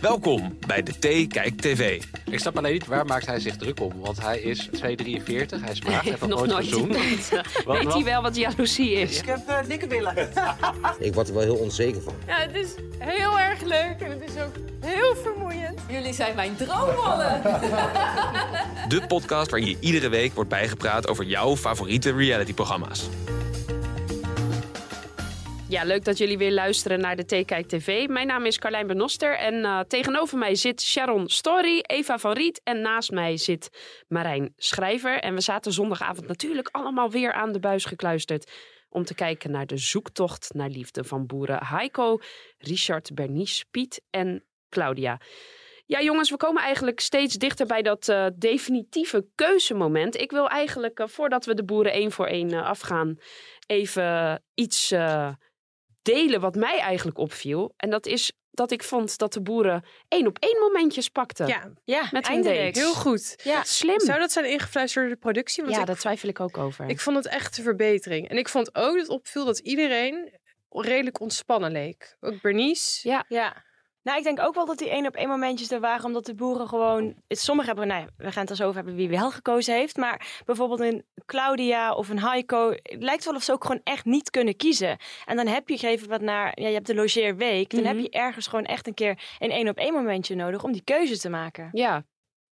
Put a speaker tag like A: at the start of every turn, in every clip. A: Welkom bij de T Kijk TV.
B: Ik snap alleen niet waar maakt hij zich druk om. Want hij is 2,43, hij is maagd, heeft nog
C: nog
B: nooit
C: nooit Ah,
B: gezoend.
C: iemand.
B: Wat-
C: Weet
B: wat-
C: hij wel wat jaloezie is?
D: Ik word er wel heel onzeker van.
E: Ja, Nou, het is heel erg leuk en het is ook heel vermoeiend. Jullie zijn mijn droomballen.
A: De podcast waarin je iedere week wordt bijgepraat over jouw favoriete realityprogramma's.
C: Ja, leuk dat jullie weer luisteren naar de T-Kijk TV. Mijn naam is Carlijn Benoster en eh, tegenover mij zit Sharon Story, Eva van Riet en naast mij zit Marijn Schrijver. En we zaten zondagavond natuurlijk allemaal weer aan de buis gekluisterd om te kijken naar de zoektocht naar liefde van boeren Heiko, Richard, Bernice, Piet en Claudia. Ja, jongens, we komen eigenlijk steeds dichter bij dat eh, definitieve keuzemoment. Ik wil eigenlijk, eh, voordat we de boeren één voor één eh, afgaan, even iets eh, delen wat mij eigenlijk opviel. En dat is dat ik vond dat de boeren één op één momentjes pakten.
F: Ja,
C: ja met hun
F: eindelijk.
C: dates.
F: Heel goed.
C: Ja. Slim.
F: Zou dat zijn ingefluisterd door de productie? Want
C: Ja,
F: ik,
C: daar twijfel ik ook over.
F: ik vond het echt een verbetering. En ik vond ook dat het opviel dat iedereen redelijk ontspannen leek. Ook Bernice.
C: Ja.
G: Ja. Nou, ik denk ook wel dat die één op één momentjes er waren, omdat de boeren gewoon. Sommigen hebben, nou, ja, we gaan het er zo over hebben wie wel gekozen heeft. Maar bijvoorbeeld een Claudia of een Heiko. Het lijkt wel of ze ook gewoon echt niet kunnen kiezen. En dan heb je gegeven wat naar. Ja, je hebt de logeerweek. Dan
C: Mhm.
G: heb je ergens gewoon echt een keer een één op één momentje nodig om die keuze te maken.
C: Ja,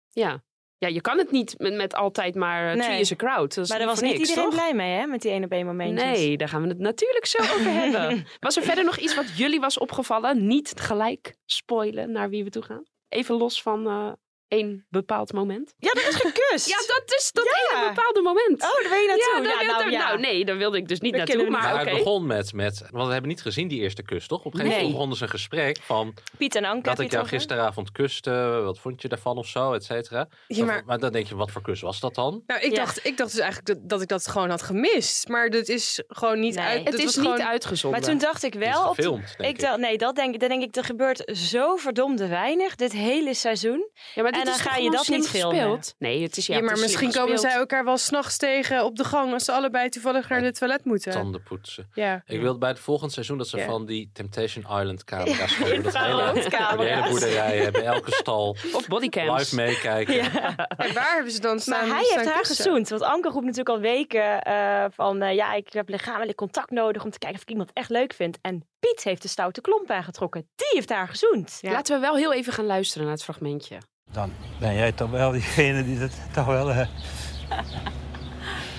C: ja. Ja, je kan het niet met, met altijd maar eh,
G: Nee.
C: three is a crowd. Dat is
G: maar daar
C: niet
G: was
C: voor
G: niet
C: niks,
G: iedereen
C: toch?
G: blij mee, hè, met die één op één momentjes.
C: Nee, daar gaan we het natuurlijk zo over hebben. Was er verder nog iets wat jullie was opgevallen? Niet gelijk spoilen naar wie we toe gaan. Even los van eh één bepaald moment.
G: Ja, dat is gekust.
C: Ja, dat is dat
G: Ja.
C: ene bepaalde moment.
G: Oh, daar wil je
C: ja,
G: naartoe.
C: daar
G: Ja,
C: wilde-
G: nou, ja.
C: nou, nee, daar wilde ik dus niet
G: Daar
C: naartoe.
G: kunnen we
C: Maar
B: Maar
C: oké.
B: het begon met, met, want we hebben niet gezien die eerste kus, toch? Op een gegeven moment
C: Nee.
B: begonnen ze een gesprek van
G: Piet en Anke.
B: dat
G: heb
B: ik
G: je
B: jou
G: het over?
B: gisteravond kuste, wat vond je daarvan of zo, et cetera.
F: Ja, maar
B: maar dan denk je, wat voor kus was dat dan?
F: nou, ik,
G: Ja.
F: dacht, ik dacht dus eigenlijk dat, dat ik dat gewoon had gemist. Maar dat is gewoon niet
G: Nee.
F: uit.
G: Het
C: Het
F: dat
C: is
F: was
C: niet
F: gewoon-
C: uitgezonden.
G: Maar toen dacht ik
B: Die is
G: wel op de-
B: gefilmd, denk
G: Ik
B: ik.
G: dacht, nee, dat denk, dat denk ik. Er gebeurt zo verdomde weinig dit hele seizoen.
C: ja, maar dit
G: en dan
C: is
G: ga
C: toch
G: je
C: gewoon
G: dat
C: slim
G: niet filmen.
C: gespeeld? Nee, het is ja,
F: Ja,
C: het
F: maar
C: is slim
F: misschien komen zij
C: gespeeld.
F: elkaar wel s'nachts tegen op de gang als ze allebei toevallig naar de toilet moeten.
B: Tanden poetsen.
F: eh, Ja.
B: Ik wilde bij het volgende seizoen dat ze
F: Ja.
B: van die Temptation Island camera's komen. Dat hele, voor die hele
G: Infraroodcamera's.
B: boerderij hebben, elke stal,
C: Of bodycams.
B: live meekijken.
F: En waar hebben ze dan staan?
G: Maar hij heeft
F: staan
G: haar
F: dus kussen?
G: gezoend. Want Anke roept natuurlijk al weken eh, van... eh, ja, ik heb lichamelijk contact nodig om te kijken of ik iemand echt leuk vind. En Piet heeft de stoute klomp aangetrokken. Die heeft haar gezoend.
F: Ja.
C: Laten we wel heel even gaan luisteren naar het fragmentje.
H: Dan ben jij toch wel diegene die dat toch wel. eh,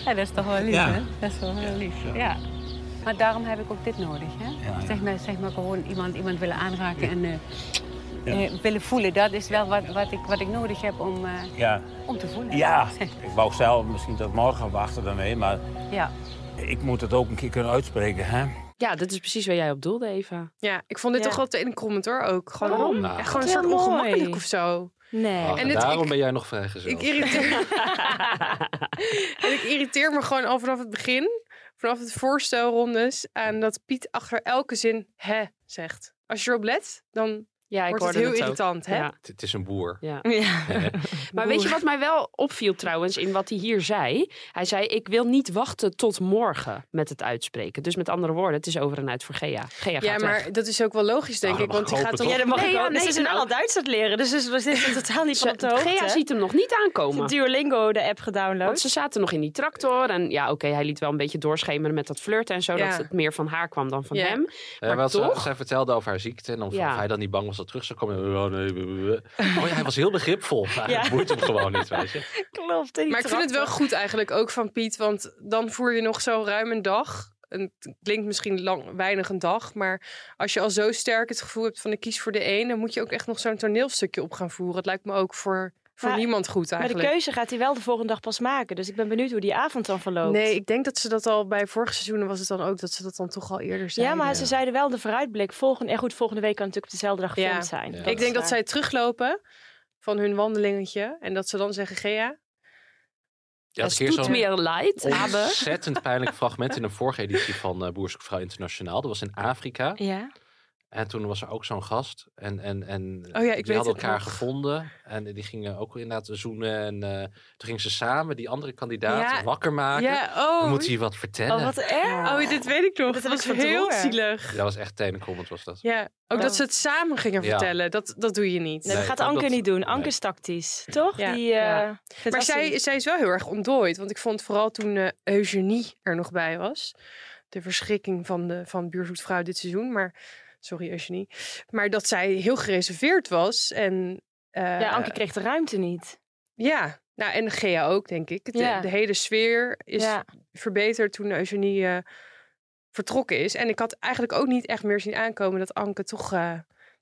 I: Ja, dat is toch wel lief,
H: Ja.
I: hè? Dat is wel heel lief, ja. Maar daarom heb ik ook dit nodig, hè?
H: ja.
I: Zeg, maar, zeg maar gewoon iemand, iemand willen aanraken en eh,
H: Ja.
I: eh, willen voelen. Dat is wel wat, wat, ik, wat ik nodig heb om, eh,
H: ja.
I: om te voelen.
H: Ja, ik wou zelf misschien tot morgen wachten daarmee, maar
I: Ja.
H: ik moet het ook een keer kunnen uitspreken. Hè?
C: Ja, dat is precies waar jij op doelde, Eva.
F: Ja, ik vond dit
G: Ja.
F: toch wel te inkomend hoor ook. Gewoon,
C: Waarom?
B: Nou.
F: echt gewoon een
G: Heel
F: soort
G: mooi.
F: ongemakkelijk of zo.
G: Nee.
B: Ach,
F: En het-
B: Ah, daarom
F: ik-
B: ben jij nog vrijgezel.
F: Ik irriteer... en ik irriteer me gewoon al vanaf het begin, vanaf het voorstelrondes, aan dat Piet achter elke zin hè zegt. Als je erop let, dan
C: Ja, ik
F: wordt het
C: hoorde
F: heel
C: het ook.
F: irritant. Hè?
C: Ja,
B: Het- Het is een boer.
C: ja.
G: Ja.
C: Maar weet je wat mij wel opviel trouwens in wat hij hier zei? Hij zei, ik wil niet wachten tot morgen met het uitspreken. Dus met andere woorden, het is over en uit voor Gea. Gea
F: Ja,
C: gaat weg.
F: maar dat is ook wel logisch, denk
B: Oh, dat
F: ik. Want
B: mag
F: die
B: ik
F: gaat
B: hopen,
F: toch...
G: Ja, dat mag
C: Nee,
G: ik
C: ja,
G: ook.
C: nee,
G: ze zijn
C: nou-
G: al Duits aan het leren, dus ze ze zitten totaal niet van op de
C: Ze-
G: hoogte.
C: Gea ziet hem nog niet
G: Ze heeft
C: aankomen.
G: Duolingo de app
C: Want
G: gedownload.
C: ze zaten nog in die tractor. En ja, oké, hij liet wel een beetje doorschemeren met dat flirten en zo.
F: Ja.
C: Dat het meer van haar kwam dan van
F: Ja.
C: hem.
B: Ja,
C: Maar
B: Eh, wel, ze-
C: toch?
B: Zij vertelde over haar ziekte en of,
C: Ja.
B: of hij dan niet bang was dat terug zou komen. Oh, nee, bleh, bleh, bleh. Oh ja, hij was heel begripvol. Maar het boeit hem gewoon niet, weet je.
G: Klopt. en die
F: Maar ik vind het wel
G: tractor.
F: goed eigenlijk, ook van Piet. Want dan voer je nog zo ruim een dag. En het klinkt misschien lang, weinig een dag. Maar als je al zo sterk het gevoel hebt van ik kies voor de een... dan moet je ook echt nog zo'n toneelstukje op gaan voeren. Het lijkt me ook voor, voor
G: Maar-
F: niemand goed
G: Maar de
F: eigenlijk.
G: keuze gaat hij wel de volgende dag pas maken. Dus ik ben benieuwd hoe die avond dan verloopt.
F: Nee, ik denk dat ze dat al bij vorig seizoen was het dan ook... dat ze dat dan toch al eerder zeiden.
G: Ja, maar ze zeiden wel de vooruitblik. Volgende, en goed, volgende week kan natuurlijk op dezelfde dag
F: Ja.
G: gefilmd zijn.
B: Ja.
F: Ik
G: is
F: denk dat
G: waar.
F: zij teruglopen van hun wandelingetje... en dat ze dan zeggen, Gea...
B: Ja,
C: het doet meer light. Aber.
B: ontzettend pijnlijk fragment in een vorige editie van eh Boer Zoekt Vrouw Internationaal. Dat was in Afrika.
G: Ja.
B: En toen was er ook zo'n gast. En, en, en
F: Oh ja, ik
B: die
F: weet
B: hadden
F: het
B: elkaar
F: nog.
B: gevonden. En die gingen ook inderdaad zoenen. En eh, toen gingen ze samen die andere kandidaat
F: Ja,
B: wakker maken.
F: ja, oh.
B: Dan moet hij wat vertellen.
F: Oh, wat erg. Oh, dit weet ik nog. Dat,
G: heb
F: was
G: ik van
F: heel
G: tevoren.
F: zielig.
B: Dat was echt tenenkrommend was dat.
F: Ja, ook dat ze het samen gingen
B: Ja.
F: vertellen. Dat, dat doe je niet.
G: Nee, dat
B: Nee,
G: gaat
B: ook
G: Anke
B: dat-
G: niet doen. Anke
B: nee.
G: is tactisch, toch?
F: Ja.
G: Die, eh,
F: Ja.
G: vindt
F: Maar
G: als die-
F: zij, zij is wel heel erg ontdooid. Want ik vond vooral toen eh, Eugenie er nog bij was. De verschrikking van, de, van buurzoetvrouw dit seizoen. Maar, sorry Eugenie. Maar dat zij heel gereserveerd was. En, eh,
G: Ja, Anke kreeg de ruimte niet.
F: Ja, nou, en Gea ook, denk ik. De,
G: Ja.
F: de hele sfeer is
G: Ja.
F: verbeterd toen Eugenie eh, vertrokken is. En ik had eigenlijk ook niet echt meer zien aankomen dat Anke toch, eh,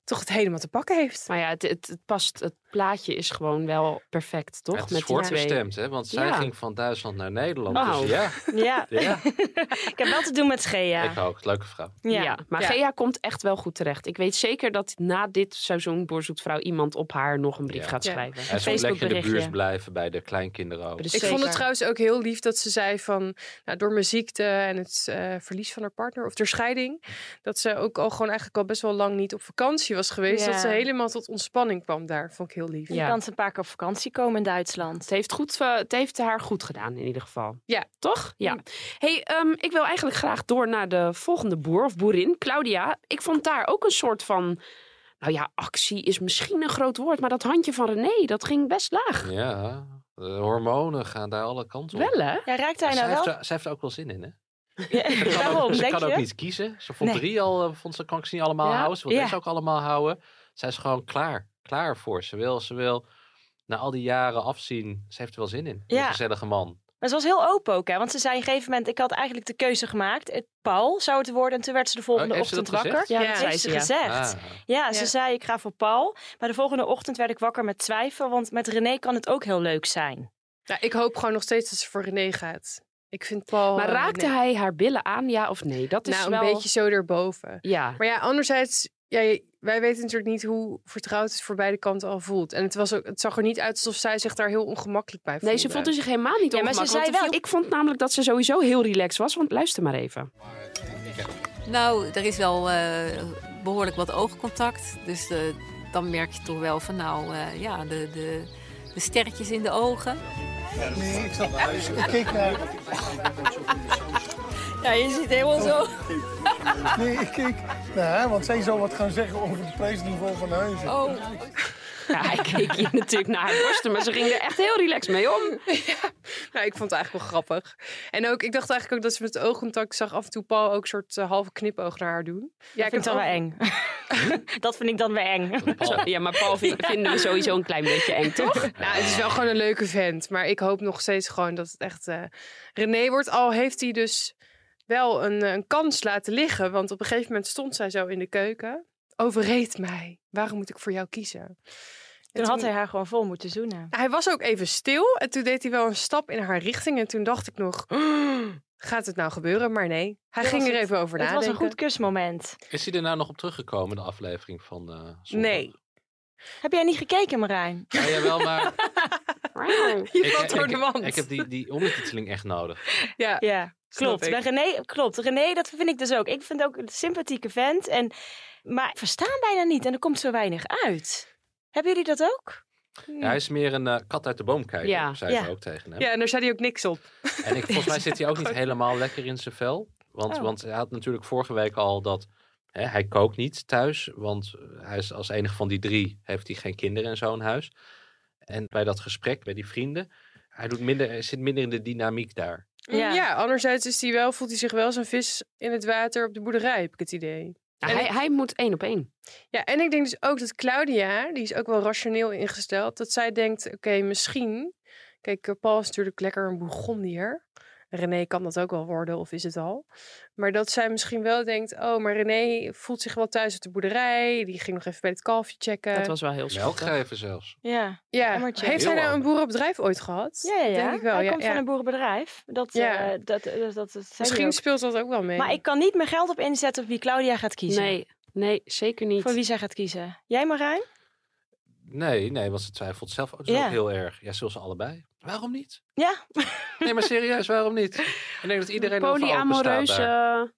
F: toch het helemaal te pakken heeft.
C: Maar ja, het, het, het past. Het plaatje is gewoon wel perfect, toch?
B: Het is
C: Met die twee.
B: voorbestemd, hè? Want zij
C: Ja.
B: ging van Duitsland naar Nederland.
C: Oh.
B: Dus ja,
G: Ja,
B: ja.
G: ik heb wel te doen met Gea.
B: ik ook. Leuke vrouw.
C: Ja.
G: Ja.
C: maar
F: Ja.
C: Gea komt echt wel goed terecht. Ik weet zeker dat na dit seizoen Boerzoetvrouw iemand op haar nog een brief
B: Ja.
C: gaat
F: Ja.
C: schrijven.
B: En zo lekker in de
G: Facebookberichtje.
B: buurt blijven bij de kleinkinderen ook.
C: Precies.
F: Ik vond
C: Zeker.
F: het trouwens ook heel lief dat ze zei van nou, door mijn ziekte en het eh, verlies van haar partner of door scheiding, dat ze ook al gewoon eigenlijk al best wel lang niet op vakantie was geweest.
G: Ja.
F: Dat ze helemaal tot ontspanning kwam daar. Vond ik heel lief.
G: Je
C: Ja.
G: kan ze een paar keer op vakantie komen in Duitsland.
C: Het heeft, goed, eh, het heeft haar goed gedaan in ieder geval.
F: Ja.
C: Toch? Ja. hey, ehm, ik wil eigenlijk graag door naar de volgende boer of boerin, Claudia. Ik vond daar ook een soort van... Nou ja, actie is misschien een groot woord, maar dat handje van René, dat ging best laag.
B: Ja, de hormonen gaan daar alle kanten op.
C: Wel hè?
G: Ja, raakt hij
B: Zij,
G: nou
B: heeft,
G: wel?
B: er- zij heeft er ook wel zin in, hè?
G: Ja,
B: Ze kan
G: Waarom,
B: ook, ze
G: denk
B: kan ook
G: je?
B: niet kiezen. Ze vond
G: Nee.
B: drie al, eh, vond ze, kan ik ze niet allemaal
C: Ja.
B: houden. Ze wil
G: Ja.
B: deze ook allemaal houden. Zij is gewoon klaar. Klaar voor. Ze wil, ze wil na al die jaren afzien. Ze heeft er wel zin in.
G: Ja.
B: Een gezellige man.
G: Maar ze was heel open ook, hè? Want ze zei op een gegeven moment, ik had eigenlijk de keuze gemaakt. Het Paul zou het worden en toen werd ze de volgende
B: Oh, heeft ze dat
G: ochtend wakker.
B: gezegd?
C: Ja,
F: Ja,
C: dat zei
G: Heeft
C: ze,
G: ze
C: ja.
G: gezegd.
B: Ah.
G: Ja, ze
F: Ja.
G: zei ik ga voor Paul. Maar de volgende ochtend werd ik wakker met twijfel, want met René kan het ook heel leuk zijn.
F: Nou, ik hoop gewoon nog steeds dat ze voor René gaat. Ik vind Paul.
C: Maar
F: eh,
C: raakte
F: nee.
C: hij haar billen aan, ja of nee? Dat is
F: nou,
C: wel...
F: een beetje zo erboven.
C: Ja,
F: Maar ja, anderzijds, ja, wij weten natuurlijk niet hoe vertrouwd het voor beide kanten al voelt. En het, was ook, het zag er niet uit alsof zij zich daar heel ongemakkelijk bij voelde.
C: nee, ze voelde zich helemaal niet
G: Ja, maar ze
C: ongemakkelijk,
G: zei
C: want
G: wel-
C: Ik vond namelijk dat ze sowieso heel relaxed was, want luister maar even.
E: Nou, er is wel eh, behoorlijk wat oogcontact. Dus eh, dan merk je toch wel van nou, eh, ja, de, de, de sterretjes in de ogen. Nee, ik zat naar huis. Ik keek naar... Ja, je ziet helemaal zo.
J: Nee, ik keek naar haar, want zij zou wat gaan zeggen over het prijsniveau van huizen.
E: Oh,
C: Ja, hij keek hier natuurlijk naar haar borsten, maar ze ging er echt heel relaxed mee om.
F: Nou, ik vond het eigenlijk wel grappig. En ook, ik dacht eigenlijk ook dat ze met het oogcontact zag af en toe Paul ook een soort eh, halve knipoog naar haar doen.
G: Ja, dat vind ik dan
F: heb
G: wel eng. dat vind ik dan weer eng.
B: Paul.
C: Ja, maar Paul vind- vinden we sowieso een klein beetje eng, toch?
F: Nou, het is wel gewoon een leuke vent. Maar ik hoop nog steeds gewoon dat het echt eh, René wordt. Al heeft hij dus wel een, eh, een kans laten liggen. Want op een gegeven moment stond zij zo in de keuken. Overreed mij. Waarom moet ik voor jou kiezen? En
G: Toen had hij haar gewoon vol moeten zoenen.
F: Hij was ook even stil en toen deed hij wel een stap in haar richting. En toen dacht ik nog, "Oh, gaat het nou gebeuren? Maar nee, hij
G: Dit
F: ging
G: was
F: er
G: het-
F: even over
G: Het was
F: nadenken.
G: een goed kusmoment.
B: Is hij er nou nog op teruggekomen, de aflevering van eh zondag?
F: Nee.
G: Heb jij niet gekeken, Marijn?
B: Ja, jawel, maar...
F: Je valt door de wand.
B: Ik, heb die, die ondertiteling echt nodig.
F: Ja,
G: Ja,
F: Snap
G: klopt.
F: ik.
G: Bij René, klopt. René, dat vind ik dus ook. Ik vind ook een sympathieke vent. En, maar ik versta hem bijna niet en er komt zo weinig uit. Hebben jullie dat ook?
B: Ja, hij is meer een eh, kat uit de boom kijken,
C: Ja.
B: zei ze
G: Mm. Ja.
B: ook tegen hem.
F: ja en daar zei hij ook niks op.
B: En ik, volgens mij zit hij ook niet helemaal lekker in zijn vel. Want,
G: Oh.
B: want hij had natuurlijk vorige week al dat... Hè, hij kookt niet thuis, want eh, hij is als enige van die drie... heeft hij geen kinderen en zo in huis. En bij dat gesprek bij die vrienden... Hij doet minder, hij zit minder in de dynamiek daar.
F: Ja, anderzijds is hij wel, voelt hij zich wel zo'n vis in het water op de boerderij, heb ik het idee.
C: Nou, hij, hij moet één op één.
F: Ja, en ik denk dus ook dat Claudia, die is ook wel rationeel ingesteld, dat zij denkt, oké, misschien... Kijk, eh, Paul is natuurlijk lekker een Bourgondier. René kan dat ook wel worden, of is het al. Maar dat zij misschien wel denkt, oh, maar René voelt zich wel thuis op de boerderij. Die ging nog even bij het kalfje checken.
C: Dat was wel heel
B: Melk
C: schattig.
B: geven zelfs.
G: Ja,
F: ja.
G: emmertje.
F: Heeft
B: Heel
F: hij nou een
B: handig.
F: boerenbedrijf ooit gehad?
G: ja, ja. ja.
F: Denk ik wel,
G: hij
F: ja,
G: komt
F: ja.
G: van een boerenbedrijf. Dat,
F: Ja.
G: eh, dat, eh, dat, dat, dat zei hij
F: Misschien
G: ook.
F: speelt dat ook wel mee.
G: Maar ik kan niet mijn geld op inzetten op wie Claudia gaat kiezen.
C: Nee, nee, zeker niet.
G: Voor wie zij gaat kiezen. Jij, Marijn?
B: Nee, nee, want ze twijfelt zelf ook, dat is
G: Ja.
B: ook heel erg. Ja, zullen ze allebei? Waarom niet?
G: Ja.
B: Nee, maar serieus, waarom niet? Ik denk dat iedereen erover open staat
C: Polyamoreuze...
B: daar.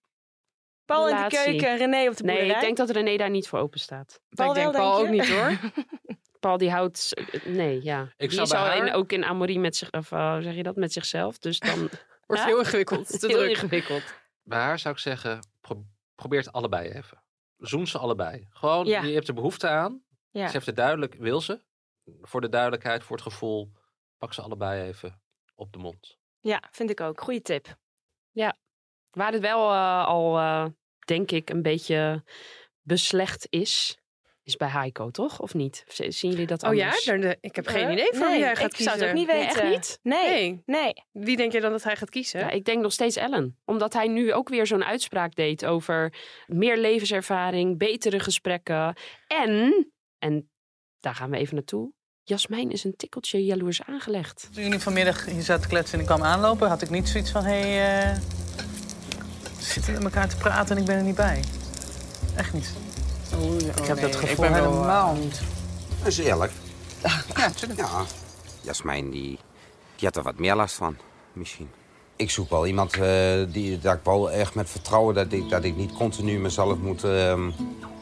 G: Paul in de
C: relatie.
G: keuken, René op de
C: Nee,
G: boerderij.
C: ik denk dat René daar niet voor open staat.
G: Paul Ik denk wel, Paul denk ook je? niet,
C: Paul die houdt... Nee, ja.
B: Ik
C: die
B: zou
C: is
B: bij
C: al in-
B: haar-
C: ook in amorie met zich... Of eh, hoe zeg je dat? Met zichzelf. Dus dan...
F: Wordt heel ingewikkeld, te
C: heel
F: druk.
C: ingewikkeld.
B: Bij haar zou ik zeggen, pro- probeer het allebei even. Zoen ze allebei. Gewoon,
G: Ja.
B: je hebt er behoefte aan.
G: Ja.
B: Ze heeft het duidelijk, wil ze. Voor de duidelijkheid, voor het gevoel, pak ze allebei even op de mond.
G: Ja, vind ik ook. Goeie tip.
C: Ja. Waar het wel eh, al, eh, denk ik, een beetje beslecht is... Is bij Heiko, toch? Of niet? Z- Zien jullie dat
F: Oh ja,
C: anders?
F: Nou, de- ik heb geen idee voor
G: nee,
F: wie jij gaat
G: ik
F: kiezen.
G: zou het ook niet weten.
C: echt niet?
G: Nee,
F: Nee.
G: nee.
F: Wie denk je dan dat hij gaat kiezen?
C: Ja, ik denk nog steeds Ellen. Omdat hij nu ook weer zo'n uitspraak deed over meer levenservaring, betere gesprekken. En, en daar gaan we even naartoe. Jasmijn is een tikkeltje jaloers aangelegd.
K: Toen jullie vanmiddag hier zaten kletsen en ik kwam aanlopen, had ik niet zoiets van: hé, hey, eh, we zitten met elkaar te praten en ik ben er niet bij. Echt niet. Oh, ik heb dat gevoel helemaal niet.
D: Dat is eerlijk. Ja, natuurlijk. Ja. Jasmijn, die, die had er wat meer last van, misschien. Ik zoek wel iemand eh, die, dat ik wel echt met vertrouwen... dat ik, dat ik niet continu mezelf moet ehm,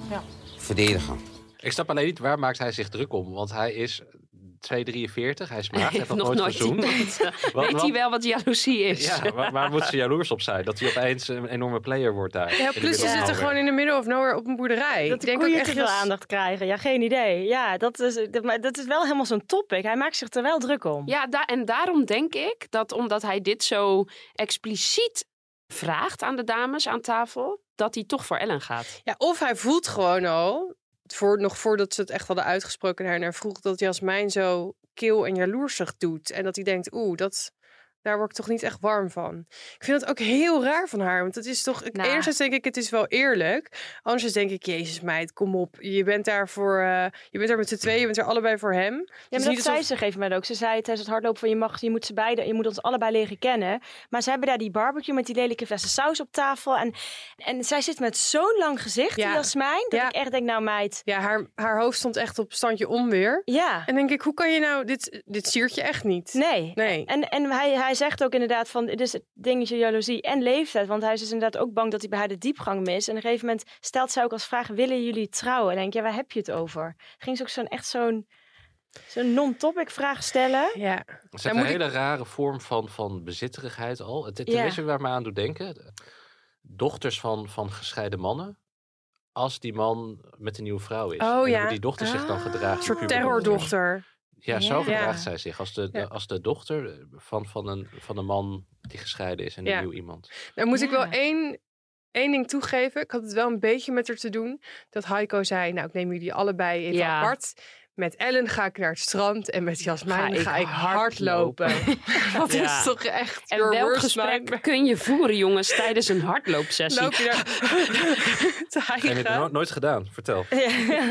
K: Ja.
D: verdedigen.
B: Ik snap alleen niet, waar maakt hij zich druk om? Want hij is 2,43, hij is maagd, hij heeft nog,
C: Nog
B: nooit
C: nooit
B: gezoend.
C: iemand. eh,
B: Wat-
C: Weet
B: wat-
C: hij wel wat jaloezie is?
B: Ja, waar, waar moet ze jaloers op zijn? Dat hij opeens een enorme player wordt daar. in
F: Ja,
B: de
F: plus ze
B: middel-
F: zitten gewoon in de middle of nowhere op een boerderij.
G: Dat
F: ik
G: de
F: denk
G: koeien
F: ook
G: te
F: echt
G: veel
F: heel-
G: aandacht krijgen. Ja, geen idee. Ja, dat is, dat, maar dat is wel helemaal zo'n topic. Hij maakt zich er wel druk om.
C: Ja, da- en daarom denk ik dat omdat hij dit zo expliciet vraagt aan de dames aan tafel, dat hij toch voor Ellen gaat.
F: Ja, of hij voelt gewoon al, voor, nog voordat ze het echt hadden uitgesproken en hij naar vroeg, dat Jasmijn zo kil en jaloersig doet. En dat hij denkt, oeh, dat, daar word ik toch niet echt warm van. Ik vind het ook heel raar van haar, want het is toch... ik-
I: Nou.
F: Enerzijds denk ik, het is wel eerlijk. Anderzijds denk ik, jezus meid, kom op. Je bent daar voor... eh, je bent daar met z'n tweeën, je bent er allebei voor hem. Het is
G: Ja,
F: niet
G: maar dat
F: alsof-
G: zei ze geven mij ook. Ze zei tijdens het hardlopen van je, mag, je, moet ze beide, je moet ons allebei leren kennen. Maar ze hebben daar die barbecue met die lelijke flessen saus op tafel. En, en zij zit met zo'n lang gezicht, die
F: Ja.
G: Jasmijn, dat ik echt denk, nou meid.
F: Ja, haar, haar hoofd stond echt op standje onweer.
G: Ja.
F: En denk ik, hoe kan je nou... Dit, dit siert je echt niet.
G: Nee.
F: Nee.
G: En, en hij, hij zegt ook inderdaad van, het is het dingetje jaloezie en leeftijd. Want hij is dus inderdaad ook bang dat hij bij haar de diepgang mist. En op een gegeven moment stelt zij ook als vraag, willen jullie trouwen? En denk ik, ja, waar heb je het over? Ging ze ook zo'n echt zo'n zo'n non-topic vraag stellen.
F: Ja.
B: Ze heeft een hele rare vorm van, van bezitterigheid al. Het, het
G: Ja.
B: tenminste waar me aan doet denken. Dochters van, van gescheiden mannen. Als die man met een nieuwe vrouw is.
F: Oh,
B: en hoe
F: ja. Ah,
B: die dochter zich dan gedraagt.
F: Een
B: die
C: Ah.
F: soort
B: puberdochter.
F: terrordochter.
B: Ja, zo
F: Ja.
B: gedraagt
F: Ja.
B: zij zich. Als de, de-
F: Ja.
B: als de dochter eh, van, van, een, van een man die gescheiden is en een
F: Ja.
B: nieuw iemand.
F: Nou moet ik wel één, één ding toegeven. Ik had het wel een beetje met haar te doen. Dat Heiko zei, nou ik neem jullie allebei even
C: Ja.
F: apart. Met Ellen ga ik naar het strand en met Jasmijn ga,
C: ik
F: ik hardlopen. Dat
C: Ja.
F: is toch echt
C: En
F: your
C: welk
F: worst
C: gesprek
F: nightmare.
C: kun je voeren, jongens, tijdens een hardloopsessie?
F: Loop je daar te
B: En ik heb
F: hijgen.
B: het no- nooit gedaan. Vertel.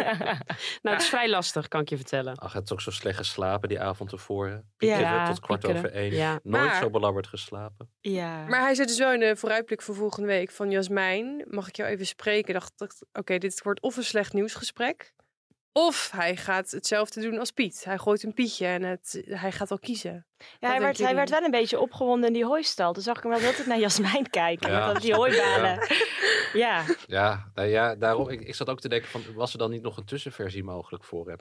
C: nou, het is vrij lastig, kan ik je vertellen.
B: Ach, het is ook zo slecht geslapen die avond ervoor. Piekeren
C: Ja,
B: tot kwart
C: piekeren.
B: over één.
C: Ja.
B: Nooit
F: Maar-
B: zo belabberd geslapen.
G: Ja.
F: Maar hij zit dus wel in de vooruitblik voor volgende week van Jasmijn. Mag ik jou even spreken? Dacht ik, oké, dit wordt of een slecht nieuwsgesprek. Of hij gaat hetzelfde doen als Piet. Hij gooit een Pietje en het, hij gaat al kiezen.
G: Ja, hij, werd, hij werd wel een beetje opgewonden in die hooistal. Toen zag ik hem wel altijd naar Jasmijn kijken.
B: Ja.
G: Met dat- die hooibalen. Ja.
B: Ja, nou ja, daarom. Ik, ik zat ook te denken: van, was er dan niet nog een tussenversie mogelijk voor hem?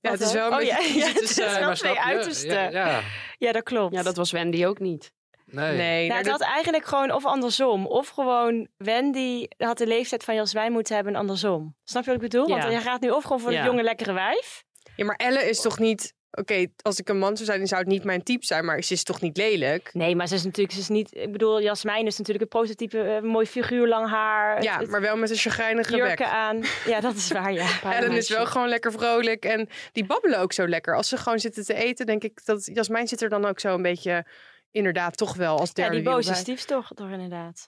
F: Ja, het is wel een
G: Oh,
F: beetje
G: ja,
F: kiezen
G: ja, het
F: tussen,
G: is
F: eh,
G: wel
F: maar
G: twee
F: snap je?
G: uitersten.
F: Ja, ja.
G: Ja, dat klopt.
C: Ja, dat was Wendy ook niet.
B: Nee.
F: Nee,
G: nou,
F: nou,
G: het
F: dat-
G: had eigenlijk gewoon of andersom. Of gewoon Wendy had de leeftijd van Jasmijn moeten hebben en andersom. Snap je wat ik bedoel?
F: Ja.
G: Want je gaat nu of gewoon voor
F: Ja.
G: het jonge lekkere wijf.
F: Ja, maar Elle is toch niet... Oké, als ik een man zou zijn, dan zou het niet mijn type zijn. Maar ze is toch niet lelijk?
G: Nee, maar ze is natuurlijk ze is niet... Ik bedoel, Jasmijn is natuurlijk een prototype. eh, mooi figuur, lang haar.
F: Ja, maar wel met een chagrijnige
G: jurken
F: bek.
G: aan. Ja, dat is waar, ja.
F: Ellen is wel gewoon lekker vrolijk en die babbelen ook zo lekker. Als ze gewoon zitten te eten, denk ik dat Jasmijn zit er dan ook zo een beetje inderdaad toch wel als
G: Ja,
F: derde
G: die
F: wiel
G: boze
F: bij.
G: stiefdochter inderdaad.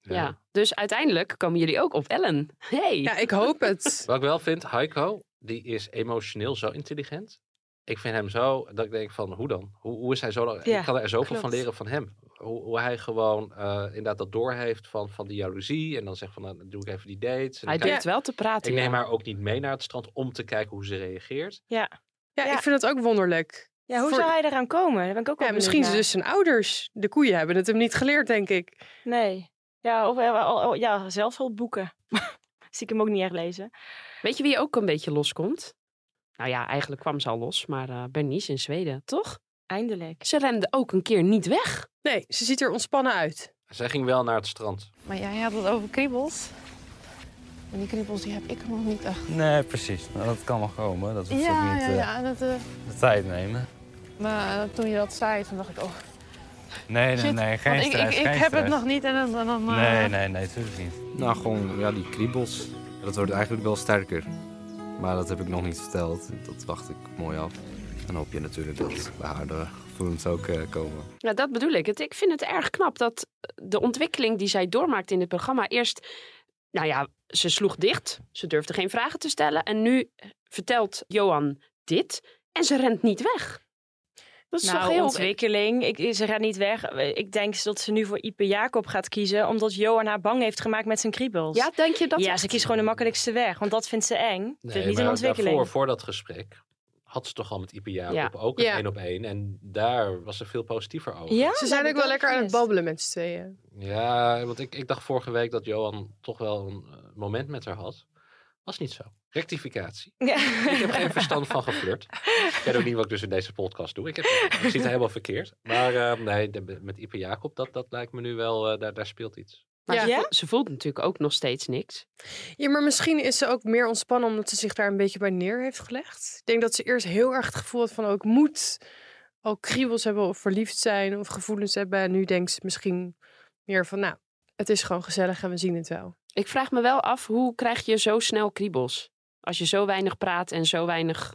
C: Ja. Dus uiteindelijk komen jullie ook op Ellen. Hey.
F: Ja, ik hoop het.
B: Wat ik wel vind, Heiko, die is emotioneel zo intelligent. Ik vind hem zo, dat ik denk van, hoe dan? Hoe, hoe is hij zo lang?
A: Ja,
B: ik kan er zoveel van
A: klopt.
B: leren van hem. Hoe, hoe hij gewoon eh, inderdaad dat doorheeft van, van die jaloezie. En dan zegt van, nou, dan doe ik even die dates. En
C: Hij
B: dan kijk-
C: durft wel te praten,
B: Ik
C: ja.
B: neem haar ook niet mee naar het strand om te kijken hoe ze reageert.
G: Ja.
F: Ja, ik vind dat ook wonderlijk.
G: Ja, hoe
F: Voor-
G: zou hij eraan komen? Daar ben ik ook wel
F: Ja,
G: benieuwd
F: misschien
G: naar.
F: dus zijn ouders. De koeien hebben het hem niet geleerd, denk ik.
G: Nee. Ja, of eh, al- al- ja, zelfhulpboeken. Zie ik hem ook niet echt lezen.
C: Weet je wie ook een beetje loskomt? Nou ja, eigenlijk kwam ze al los, maar eh, Bernice in Zweden, toch?
G: Eindelijk.
C: Ze rende ook een keer niet weg.
F: Nee, ze ziet er ontspannen uit.
B: Zij ging wel naar het strand.
I: Maar jij had het over kriebels. En die kriebels die heb ik nog niet echt.
L: Nee, precies. Nou, dat kan nog komen. Dat we op zich
I: Ja,
L: niet
I: ja,
L: eh,
I: ja. Dat, eh,
L: de tijd nemen.
I: maar eh, toen je dat zei, toen dacht ik, oh,
L: Nee, nee,
I: shit.
L: nee. Geen
I: Want ik,
L: stress.
I: ik, ik
L: geen
I: heb het
L: stress.
I: nog niet en dan... dan, dan, eh,
L: Nee, nee, nee, natuurlijk niet.
M: Nou, gewoon ja, die kriebels. Dat wordt eigenlijk wel sterker. Maar dat heb ik nog niet verteld. Dat wacht ik mooi af. En hoop je natuurlijk dat bij haar de gevoelens ook eh, komen.
C: Ja, Nou, dat bedoel ik. Het, ik vind het erg knap dat de ontwikkeling die zij doormaakt in het programma eerst... Nou ja, ze sloeg dicht. Ze durfde geen vragen te stellen. En nu vertelt Johan dit en ze rent niet weg. Dat is
G: nou,
C: toch heel...
G: ontwikkeling. Ik, ze gaat niet weg. Ik denk dat ze nu voor Ipe Jacob gaat kiezen, omdat Johan haar bang heeft gemaakt met zijn kriebels.
C: Ja, denk je dat
G: Ja,
C: echt?
G: ze kiest gewoon de makkelijkste weg, want dat vindt ze eng. Vindt
B: Nee,
G: niet een
B: maar
G: ontwikkeling.
B: Daarvoor, voor dat gesprek had ze toch al met Ipe Jacob
G: Ja.
B: ook een
F: Ja.
B: één op één. En daar was ze veel positiever over.
F: ze zijn
G: Nou,
F: ook wel lekker aan het babbelen met z'n tweeën.
B: Ja, want ik, ik dacht vorige week dat Johan toch wel een eh, moment met haar had. Was niet zo. Rectificatie. Ik heb geen verstand van geflirt. Ik weet ook niet wat ik dus in deze podcast doe. Ik, heb, ik zie het helemaal verkeerd. Maar eh, nee, de- met Ipe Jacob, dat, dat lijkt me nu wel, eh, daar, daar speelt iets.
C: Maar
F: Ja.
C: ze, voelt, ze voelt natuurlijk ook nog steeds niks.
F: Ja, maar misschien is ze ook meer ontspannen omdat ze zich daar een beetje bij neer heeft gelegd. Ik denk dat ze eerst heel erg het gevoel had van oh, ik moet al kriebels hebben of verliefd zijn of gevoelens hebben. En nu denkt ze misschien meer van nou, het is gewoon gezellig en we zien het wel.
C: Ik vraag me wel af, hoe krijg je zo snel kriebels? Als je zo weinig praat en zo weinig...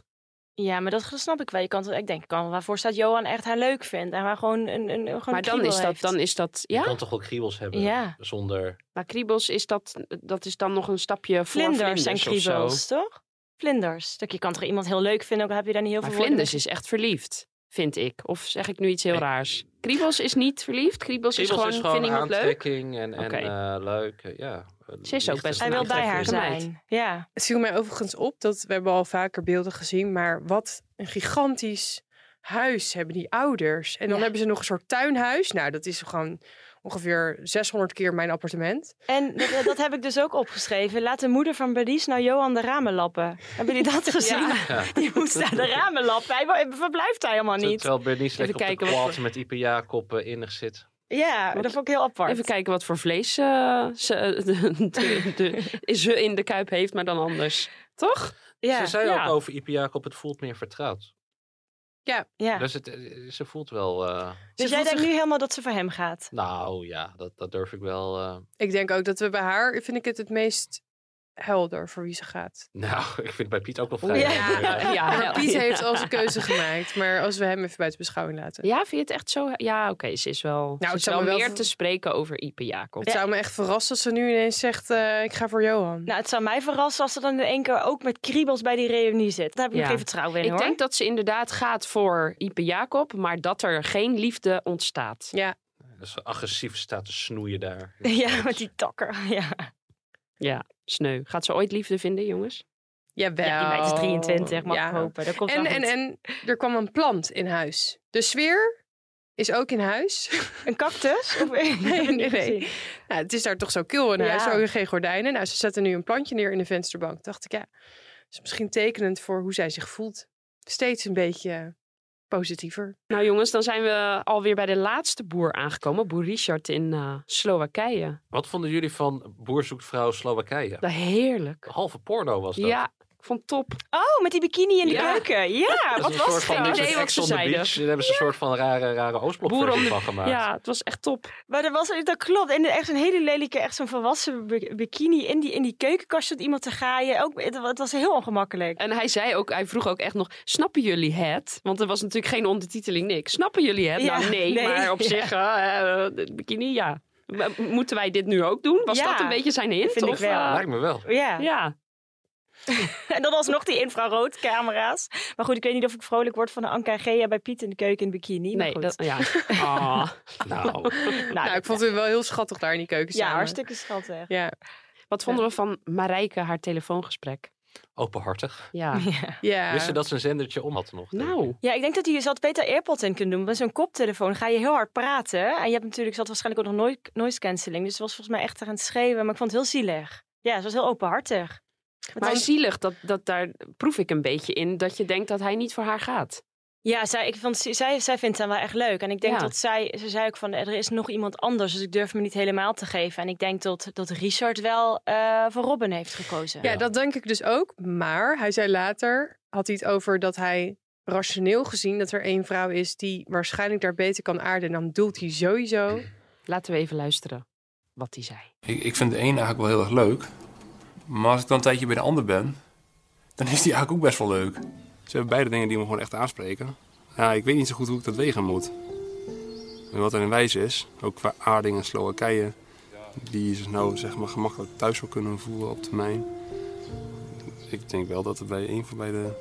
G: Ja, maar dat snap ik wel. Je kan, het- ik denk, ik kan waarvoor staat Johan echt haar leuk vindt en waar gewoon een, een, gewoon
C: maar dan is, dat, dan is dat...
B: Je
C: Ja?
B: kan toch ook kriebels hebben
C: Ja.
B: zonder...
C: Maar kriebels is dat, dat is dan nog een stapje voor
G: vlinders,
C: vlinders,
G: zijn
C: of zo.
G: kriebels, toch? Vlinders. Dat Je kan toch iemand heel leuk vinden, ook al heb je daar niet heel
C: Maar
G: veel woorden
C: vlinders is echt verliefd, vind ik. Of zeg ik nu iets heel raars? Kriebels is niet verliefd. Kriebels,
B: Kriebels
C: Dus is gewoon, vind iemand leuk.
B: aantrekking en, en
C: Oké.
B: eh, leuk. eh, ja.
C: Ze is ook best
F: Hij
C: een
F: wil bij haar
C: aantrekkelijke
F: zijn.
C: meid.
G: Ja.
F: Het viel mij overigens op dat we hebben al vaker beelden gezien, maar wat een gigantisch huis hebben die ouders. En dan hebben ze nog een soort tuinhuis. Nou, dat is gewoon ongeveer 600 keer mijn appartement.
G: En dat, dat heb ik dus ook opgeschreven. Laat de moeder van Bernice nou Johan de ramen lappen. Hebben jullie dat gezien? Die moest daar de ramen lappen. Hij wa- verblijft daar helemaal
B: Ter-
G: niet.
B: Terwijl Bernice
G: Even
B: lekker op de
G: kijken wat
B: quad
G: voor-
B: met Ipe Jacob eh, innig zit.
G: Ja, dat vond ik heel apart.
C: Even kijken wat voor vlees eh, ze, de- de- de- ze in de kuip heeft, maar dan anders. Toch?
B: Ze zei ook over Ipe Jacob, het voelt meer vertrouwd.
F: Ja.
G: ja.
B: Dus het, eh, ze voelt wel... eh,
G: Dus jij denkt nu helemaal dat ze voor hem gaat?
B: Nou ja, dat, dat durf ik wel... eh,
F: Ik denk ook dat we bij haar, vind ik het het meest helder voor wie ze gaat.
B: Nou, ik vind het bij Piet ook wel vrij.
F: Ja.
B: helder,
F: Ja,
G: Oh,
F: maar Piet
C: Eh, ja.
F: heeft al zijn keuze gemaakt, maar als we hem even buiten beschouwing laten.
C: Ja, vind je het echt zo? Ja, oké, ze is wel, ze
F: het
C: is
F: zou
C: wel
F: me wel
C: meer
F: ver-
C: te spreken over Ipe Jacob.
F: Het zou me echt verrassen als ze nu ineens zegt, eh, ik ga voor Johan.
G: Nou, het zou mij verrassen als ze dan in één keer ook met kriebels bij die reunie zit. Daar heb ik nog
C: Ja.
G: geen vertrouwen in,
C: Ik
G: hoor.
C: denk dat ze inderdaad gaat voor Ipe Jacob, maar dat er geen liefde ontstaat.
F: Ja.
B: Dat ze agressief staat te snoeien daar.
G: Ja, met die takker. Ja.
C: Ja, sneu. Gaat ze ooit liefde vinden, jongens?
F: Jawel.
G: Ja, die meid is 23, mag ik hopen. Dat komt
F: en,
G: wel
F: en,
G: goed.
F: en er kwam een plant in huis. De sfeer is ook in huis.
G: Een cactus? Of... nee,
F: nee, nee.
G: gezien.
F: Nou, het is daar toch zo kil in
G: Ja.
F: huis. Ook geen gordijnen. Nou, ze zetten nu een plantje neer in de vensterbank. Dacht ik, ja, is misschien tekenend voor hoe zij zich voelt. Steeds een beetje positiever.
C: Nou jongens, dan zijn we alweer bij de laatste boer aangekomen. Boer Richard in eh, Slowakije.
B: Wat vonden jullie van Boer zoekt vrouw Slowakije?
C: Nou, heerlijk.
B: Halve porno was dat.
C: Ja, ik vond het top.
G: Oh, met die bikini in de
C: Ja.
G: keuken. Ja,
B: Dat
G: wat
B: is een soort
G: was
B: van
G: het?
B: niks met Ex on the Beach. Daar hebben ze een soort van rare, rare
C: Boer
B: Oostblokversie
C: on the-
B: van gemaakt.
C: Ja, het was echt top.
G: Maar dat, was, dat klopt. En echt zo'n hele lelijke, echt zo'n volwassen bi- bikini in die, in die keukenkast zat iemand te gaaien. Ook, het, het was heel ongemakkelijk.
C: En hij zei ook, hij vroeg ook echt nog, snappen jullie het? Want er was natuurlijk geen ondertiteling, niks. Snappen jullie het?
G: Ja,
C: nou nee,
G: nee.
C: maar op
G: Ja.
C: zich, eh, eh, de bikini, ja. Maar Moeten wij dit nu ook doen? Was
G: Ja,
C: dat een beetje zijn hint?
G: vind ik
C: of,
G: wel.
C: eh,
B: Lijkt me wel.
G: Ja.
C: Ja.
G: en dan alsnog die infraroodcamera's. Maar goed, ik weet niet of ik vrolijk word van de Anka en Gea bij Piet in de keuken in bikini. maar
C: Nee,
G: goed.
C: dat, ja. Ah.
B: nou.
F: nou, ik vond het wel heel schattig daar in die keuken
G: Ja,
F: samen.
G: hartstikke schattig.
F: Ja.
C: Wat vonden we van Marijke, haar telefoongesprek?
B: openhartig.
C: Ja.
G: Ja.
B: Wist ze dat ze een zendertje om had nog?
C: Nou.
G: Ja, ik denk dat hij zat beter AirPods in kunnen doen. Met zo'n koptelefoon ga je heel hard praten. En je hebt natuurlijk, zat waarschijnlijk ook nog noise, noise cancelling. Dus ze was volgens mij echt aan het schreeuwen. Maar ik vond het heel zielig. Ja, ze was heel openhartig.
C: Maar zielig, dat, dat, daar proef ik een beetje in. Dat je denkt dat hij niet voor haar gaat.
G: Ja, zij, ik vond, zij, zij vindt hem wel echt leuk. En ik denk
C: Ja.
G: dat zij, ze zei ook van, er is nog iemand anders. Dus ik durf me niet helemaal te geven. En ik denk dat, dat Richard wel eh, voor Robin heeft gekozen.
F: Ja, dat denk ik dus ook. Maar hij zei later, had hij het over dat hij rationeel gezien dat er één vrouw is die waarschijnlijk daar beter kan aarden. En dan doelt hij sowieso.
C: Laten we even luisteren wat hij zei.
N: Ik, ik vind de ene eigenlijk wel heel erg leuk. Maar als ik dan een tijdje bij de ander ben, dan is die eigenlijk ook best wel leuk. Ze hebben beide dingen die me gewoon echt aanspreken. Ja, ik weet niet zo goed hoe ik dat wegen moet. En wat er in wijs is, ook qua aarding en Slowakije, die ze nou zeg maar gemakkelijk thuis zou kunnen voelen op termijn. Ik denk wel dat er bij een van beide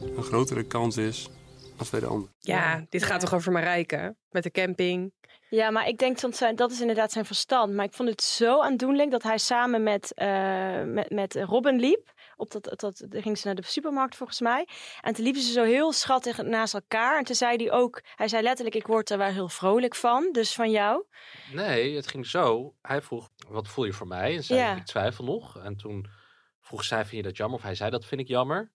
N: een grotere kans is als bij de ander.
F: Ja, dit gaat toch over Marijke met de camping.
G: Ja, maar ik denk dat zijn, dat is inderdaad zijn verstand. Maar ik vond het zo aandoenlijk dat hij samen met, eh, met, met Robin liep. Op dat, dat, dat daar gingen ze naar de supermarkt volgens mij. En toen liepen ze zo heel schattig naast elkaar. En toen zei hij ook, hij zei letterlijk, ik word er wel heel vrolijk van. Dus van jou.
B: Nee, het ging zo. Hij vroeg, wat voel je voor mij? En zei,
G: Ja.
B: ik twijfel nog. En toen vroeg zij, vind je dat jammer? Of hij zei, dat vind ik jammer.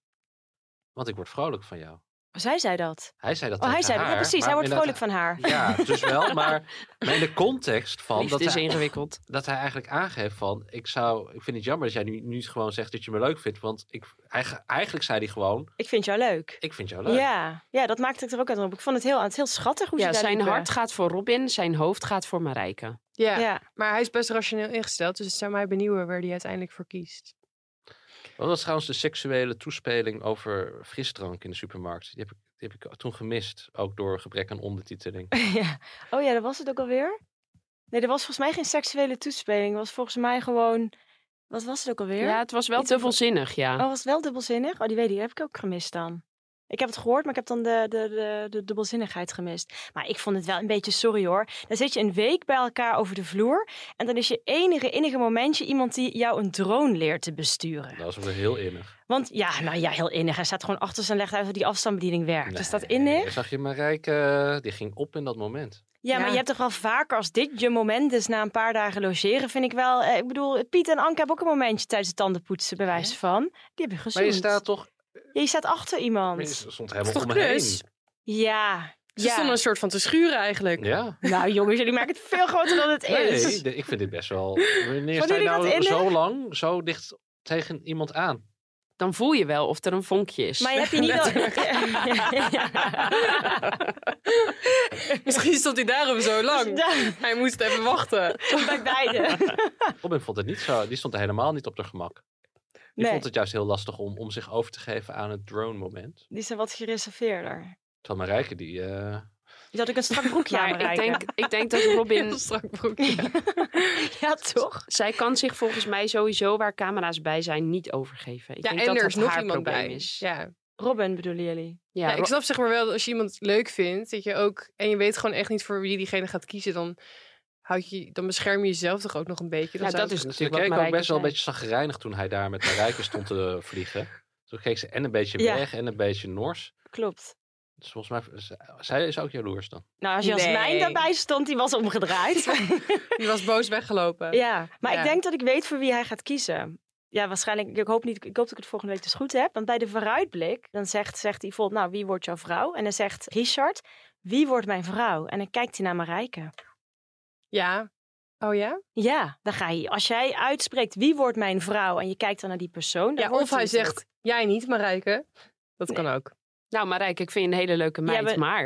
B: Want ik word vrolijk van jou.
G: Zij zei dat.
B: Hij zei dat
G: oh, hij
B: tegen
G: zei dat.
B: haar,
G: Ja, precies.
B: maar
G: Hij wordt vrolijk
B: inderdaad-
G: van haar.
B: Ja, dus wel, maar, maar in de context van...
C: Liefde is
B: hij-
C: ingewikkeld.
B: Dat hij eigenlijk aangeeft van, ik, zou, ik vind het jammer dat jij nu, nu gewoon zegt dat je me leuk vindt. Want ik, eigen- eigenlijk zei hij gewoon,
G: Ik vind jou leuk.
B: ik vind jou leuk.
G: Ja, ja, dat maakte ik er ook aan op. Ik vond het heel, het heel schattig hoe ze
C: Ja,
G: daar
C: zijn
G: liepen.
C: hart gaat voor Robin, zijn hoofd gaat voor Marijke.
F: Ja, maar hij is best rationeel ingesteld. Dus het zou mij benieuwen waar hij uiteindelijk voor kiest.
B: Wat was trouwens de seksuele toespeling over frisdrank in de supermarkt? Die heb ik, die heb ik toen gemist, ook door gebrek aan ondertiteling.
G: Oh ja, dat was het ook alweer. Nee, er was volgens mij geen seksuele toespeling. Het was volgens mij gewoon... Wat was het ook alweer?
C: Ja, het was wel
G: Iets
C: te
G: over-
C: volzinnig, ja.
G: Oh, was het wel dubbelzinnig? Oh, die weet ik, die heb ik ook gemist dan. Ik heb het gehoord, maar ik heb dan de, de, de, de dubbelzinnigheid gemist. Maar ik vond het wel een beetje sorry hoor. Dan zit je een week bij elkaar over de vloer. En dan is je enige, enige momentje iemand die jou een drone leert te besturen.
B: Dat was wel heel innig.
G: Want ja, nou ja, heel innig. Hij staat gewoon achter zijn legt uit hoe die afstandsbediening werkt. Is dus dat innig?
B: Zag je Marijke, die ging op in dat moment.
G: Ja, maar je hebt toch wel vaker als dit je moment is na een paar dagen logeren, vind ik wel. eh, ik bedoel, Piet en Anke hebben ook een momentje tijdens het tandenpoetsen, bij wijze van. Die hebben gezoend.
B: Maar je staat toch...
G: Ja, je staat achter
B: Maar
G: iemand.
B: je stond helemaal
G: toch
B: om me heen.
G: knus? Ja.
F: Ze stonden een soort van te schuren eigenlijk.
B: Ja.
G: Nou jongens, jullie maken het veel groter dan het is.
B: Nee, de- ik vind dit best wel... Wanneer sta je
G: jullie dat
B: nou
G: innig?
B: zo lang, zo dicht tegen iemand aan?
C: Dan voel je wel of er een vonkje is.
G: Maar heb je niet wel...
F: Misschien stond hij daarom zo lang.
G: Ja.
F: Hij moest even wachten.
G: Bij beide.
B: Robin vond het niet zo. Die stond er helemaal niet op haar gemak. Die
G: Nee.
B: vond het juist heel lastig om, om zich over te geven aan het drone moment.
G: Die zijn wat gereserveerder.
B: Terwijl Marijke die... eh,
G: Die had ik een strak broekje
C: Maar
G: aan
C: ik
G: Marijke.
C: denk, ik denk dat Robin...
G: ja, toch?
C: Zij kan zich volgens mij sowieso waar camera's bij zijn niet overgeven. Ik
F: ja,
C: denk
F: en
C: dat
F: er
C: dat
F: is nog
C: haar
F: iemand
C: probleem
F: bij.
C: Is.
F: Ja.
G: Robin bedoelen jullie?
F: Ja, ik snap zeg maar wel dat als je iemand leuk vindt, dat je ook en je weet gewoon echt niet voor wie diegene gaat kiezen, dan houd je, dan bescherm je jezelf toch ook nog een beetje. Dan zou ik-
B: Ze keek dus ook best wel een beetje zagrijnig toen hij daar met Marijke stond te vliegen. Toen keek ze en een beetje
G: Ja.
B: weg en een beetje nors.
G: Klopt.
B: Dus volgens mij, z- zij is ook jaloers dan.
G: Nou, als Jasmijn
F: Nee.
G: daarbij stond, die was omgedraaid.
F: Die was boos weggelopen.
G: Ja, maar
F: Ja.
G: ik denk dat ik weet voor wie hij gaat kiezen. Ja, waarschijnlijk. Ik hoop, niet, ik hoop dat ik het volgende week dus goed heb. Want bij de vooruitblik, dan zegt, zegt hij bijvoorbeeld, nou, wie wordt jouw vrouw? En dan zegt Richard, wie wordt mijn vrouw? En dan kijkt hij naar Marijke.
F: Ja. Oh ja?
G: Ja, dan ga je. Als jij uitspreekt, wie wordt mijn vrouw? En je kijkt dan naar die persoon. Dan
F: Ja,
G: wordt
F: of hij
G: het
F: zegt,
G: ook.
F: jij niet, Marijke. Dat kan ook.
C: Nou, Marijke, ik vind je een hele leuke meid,
G: maar-
C: maar...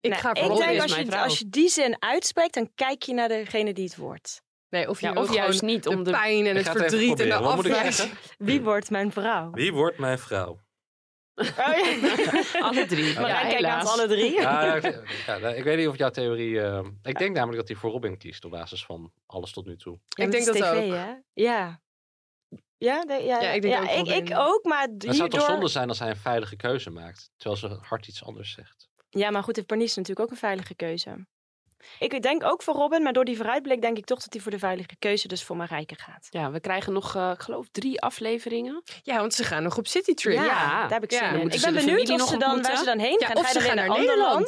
F: Ik
G: Nee,
F: ga voor
G: ik
F: Robin
G: denk
F: is
G: als
F: mijn
G: je,
F: vrouw.
G: als je die zin uitspreekt, dan kijk je naar degene die het wordt.
F: Nee, of je
C: Ja,
F: wil
C: of juist
F: gewoon
C: niet, om
F: de
C: de-
F: pijn en
B: Ik
F: het
B: ga het even
F: verdriet en de
B: proberen. Wat moet ik
F: afwijzing.
B: zeggen?
G: Wie wordt mijn vrouw? Oh,
B: Wie wordt mijn vrouw?
C: alle drie.
G: Maar hij kijkt naar
C: helaas.
G: ons alle drie.
B: Ja, ik, ja, nou, ik weet niet of jouw theorie... eh, ik denk namelijk dat hij voor Robin kiest op basis van alles tot nu toe.
G: Ja,
F: Ik
G: maar
F: denk
G: het is
F: dat
G: tv,
F: ook.
G: Hè? Ja. Ja, de-
F: Ja,
G: ja, ja,
F: ik
G: ik,
F: denk ook
G: ja, ik,
F: Robin.
G: ik ook, maar
B: Het zou toch
G: hierdoor-
B: zonde zijn als hij een veilige keuze maakt, terwijl zijn hart iets anders zegt.
G: Ja, maar goed, heeft Bernice natuurlijk ook een veilige keuze. Ik denk ook voor Robin, maar door die vooruitblik denk ik toch dat hij voor de veilige keuze dus voor Marijke gaat.
C: Ja, we krijgen nog, eh, ik geloof, drie afleveringen.
F: Ja, want ze gaan nog op citytrip.
C: Ja,
G: daar heb ik zin in.
C: moeten ze
G: Ik ben
C: de
G: benieuwd
C: familie nog
G: of ze dan, waar
C: ontmoeten.
G: ze dan heen
C: Ja,
G: gaan.
C: of
G: Ga je
C: ze
G: dan weer
C: gaan
G: naar
C: naar
G: Nederland?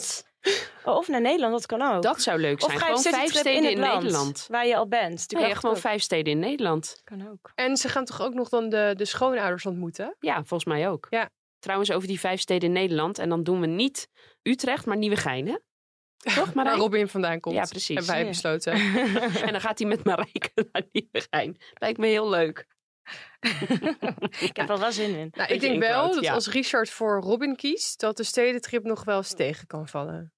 C: Nederland.
G: Oh, of naar Nederland, dat kan ook.
C: Dat zou leuk
G: Of
C: zijn.
G: ga je op
C: Gewoon vijf
G: citytrip
C: steden
G: in,
C: in
G: het land,
C: Nederland.
G: Waar je al bent.
C: Nee, gewoon vijf steden in Nederland.
G: Kan ook.
F: En ze gaan toch ook nog dan de, de schoonouders ontmoeten?
C: Ja, volgens mij ook.
F: Ja.
C: Trouwens, over die vijf steden in Nederland. En dan doen we niet Utrecht, maar Nieuwegein, hè? Toch, Marijn?
F: Waar Robin vandaan komt.
C: Ja, precies.
F: Hebben wij
C: Ja.
F: besloten.
C: en dan gaat hij met Marijke naar Nieuwegein. Lijkt me heel leuk.
G: Ik heb er wel zin in.
F: Nou, ik denk wel dat als Richard voor Robin kiest, dat de stedentrip nog wel eens tegen kan vallen.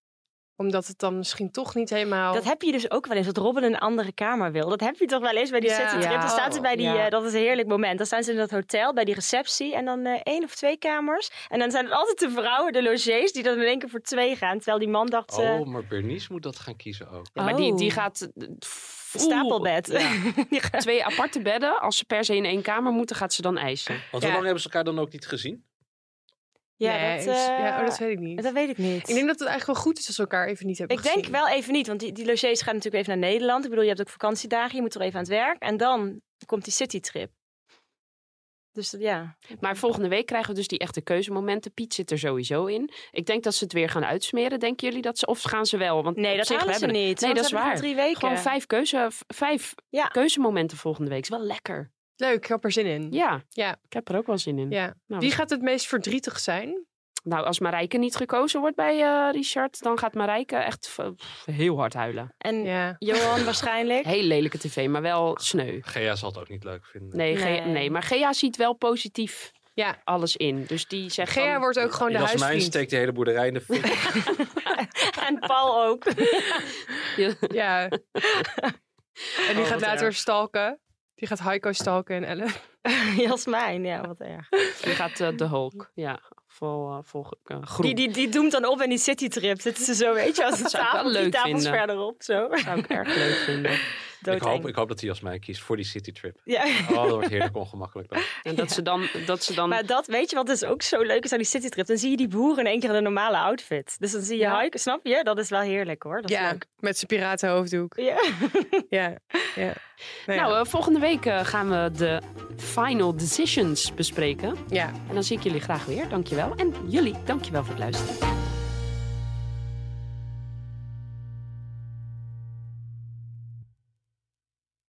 F: Omdat het dan misschien toch niet
C: Oh.
F: helemaal.
G: Dat heb je dus ook wel eens, dat Robin een andere kamer wil. Dat heb je toch wel eens bij die
F: Ja.
G: citytrip. Dan
F: Ja.
G: staat ze bij die,
F: Ja.
G: eh, dat is een heerlijk moment. Dan staan ze in dat hotel bij die receptie en dan eh, één of twee kamers. En dan zijn het altijd de vrouwen, de logiers, die dan in één keer voor twee gaan. Terwijl die man dacht, eh,
B: Oh, maar Bernice moet dat gaan kiezen ook.
C: Ja, maar die, die gaat...
G: Oh.
C: eh,
G: stapelbed.
C: Twee aparte bedden. Als ze per se in één kamer moeten, gaat ze dan eisen.
B: Want hoe lang hebben ze elkaar dan ook niet gezien?
G: Ja,
F: Nee,
G: dat,
F: is- ja,
G: eh,
F: oh, dat weet ik niet.
G: Dat weet ik niet.
F: Ik denk dat het eigenlijk wel goed is als we elkaar even niet hebben
G: Ik
F: gezien.
G: denk wel even niet, want die, die logiers gaan natuurlijk even naar Nederland. Ik bedoel, je hebt ook vakantiedagen, je moet er even aan het werk. En dan komt die citytrip. Dus dat- ja.
C: Maar volgende week krijgen we dus die echte keuzemomenten. Piet zit er sowieso in. Ik denk dat ze het weer gaan uitsmeren. Denken jullie dat ze... Of gaan ze wel? Want
G: Nee,
C: op
G: dat
C: zich
G: halen ze
C: hebben-
G: niet, eh,
C: Nee,
G: want
C: dat
G: ze
C: is
G: hebben
C: waar.
G: nog drie weken.
C: Gewoon vijf, keuze, v- vijf keuzemomenten volgende week. Is wel lekker.
F: Leuk, ik heb er zin in.
C: Ja,
F: Ja.
C: ik heb er ook wel zin in.
F: ja.
C: Nou,
F: Wie gaat het meest verdrietig zijn?
C: Nou, als Marijke niet gekozen wordt bij eh, Richard... dan gaat Marijke echt v- pff, heel hard huilen.
G: En
F: Ja.
G: Johan waarschijnlijk.
C: Heel lelijke tv, maar wel sneu.
B: Gea zal het ook niet leuk vinden.
C: Nee, Gea-
G: Nee.
C: nee. maar Gea ziet wel positief
F: ja.
C: alles in. Dus die zegt
F: Gea
C: van-
F: wordt ook gewoon de
B: Jasmijn
F: huisvriend.
B: steekt de hele boerderij in de fik.
G: en Paul ook.
F: Ja. En die
C: Oh, wat
F: gaat later
C: erg.
F: stalken. Die gaat Heiko stalken en Ellen.
G: Jasmijn, ja, wat erg.
C: Die gaat eh, de Hulk. Ja, vol, eh, vol eh, groen.
G: Die, die, die doemt dan op en die citytrip. Zitten ze zo, weet je, als een
C: Dat zou ik wel
G: tafel, die
C: leuk
G: tafels
C: vinden.
G: verderop. Zo.
C: zou ik erg leuk vinden.
B: ik, hoop,
G: Doodeng.
B: ik hoop dat hij Jasmijn kiest voor die citytrip.
G: Ja.
B: Oh, dat wordt heerlijk ongemakkelijk dan.
C: En dat ze dan... Dat ze dan
G: Maar dat, weet je wat dus ook zo leuk is aan die citytrip? Dan zie je die boeren in één keer in een normale outfit. Dus dan zie je
F: Ja.
G: Heiko, snap je? Dat is wel heerlijk hoor. Dat is
F: Ja,
G: leuk.
F: met zijn piratenhoofddoek.
G: Ja.
F: Ja. ja. Nou,
C: Nou,
F: ja.
C: eh, volgende week eh, gaan we de final decisions bespreken.
F: ja.
C: En dan zie ik jullie graag weer. Dankjewel. En jullie, dankjewel voor het luisteren.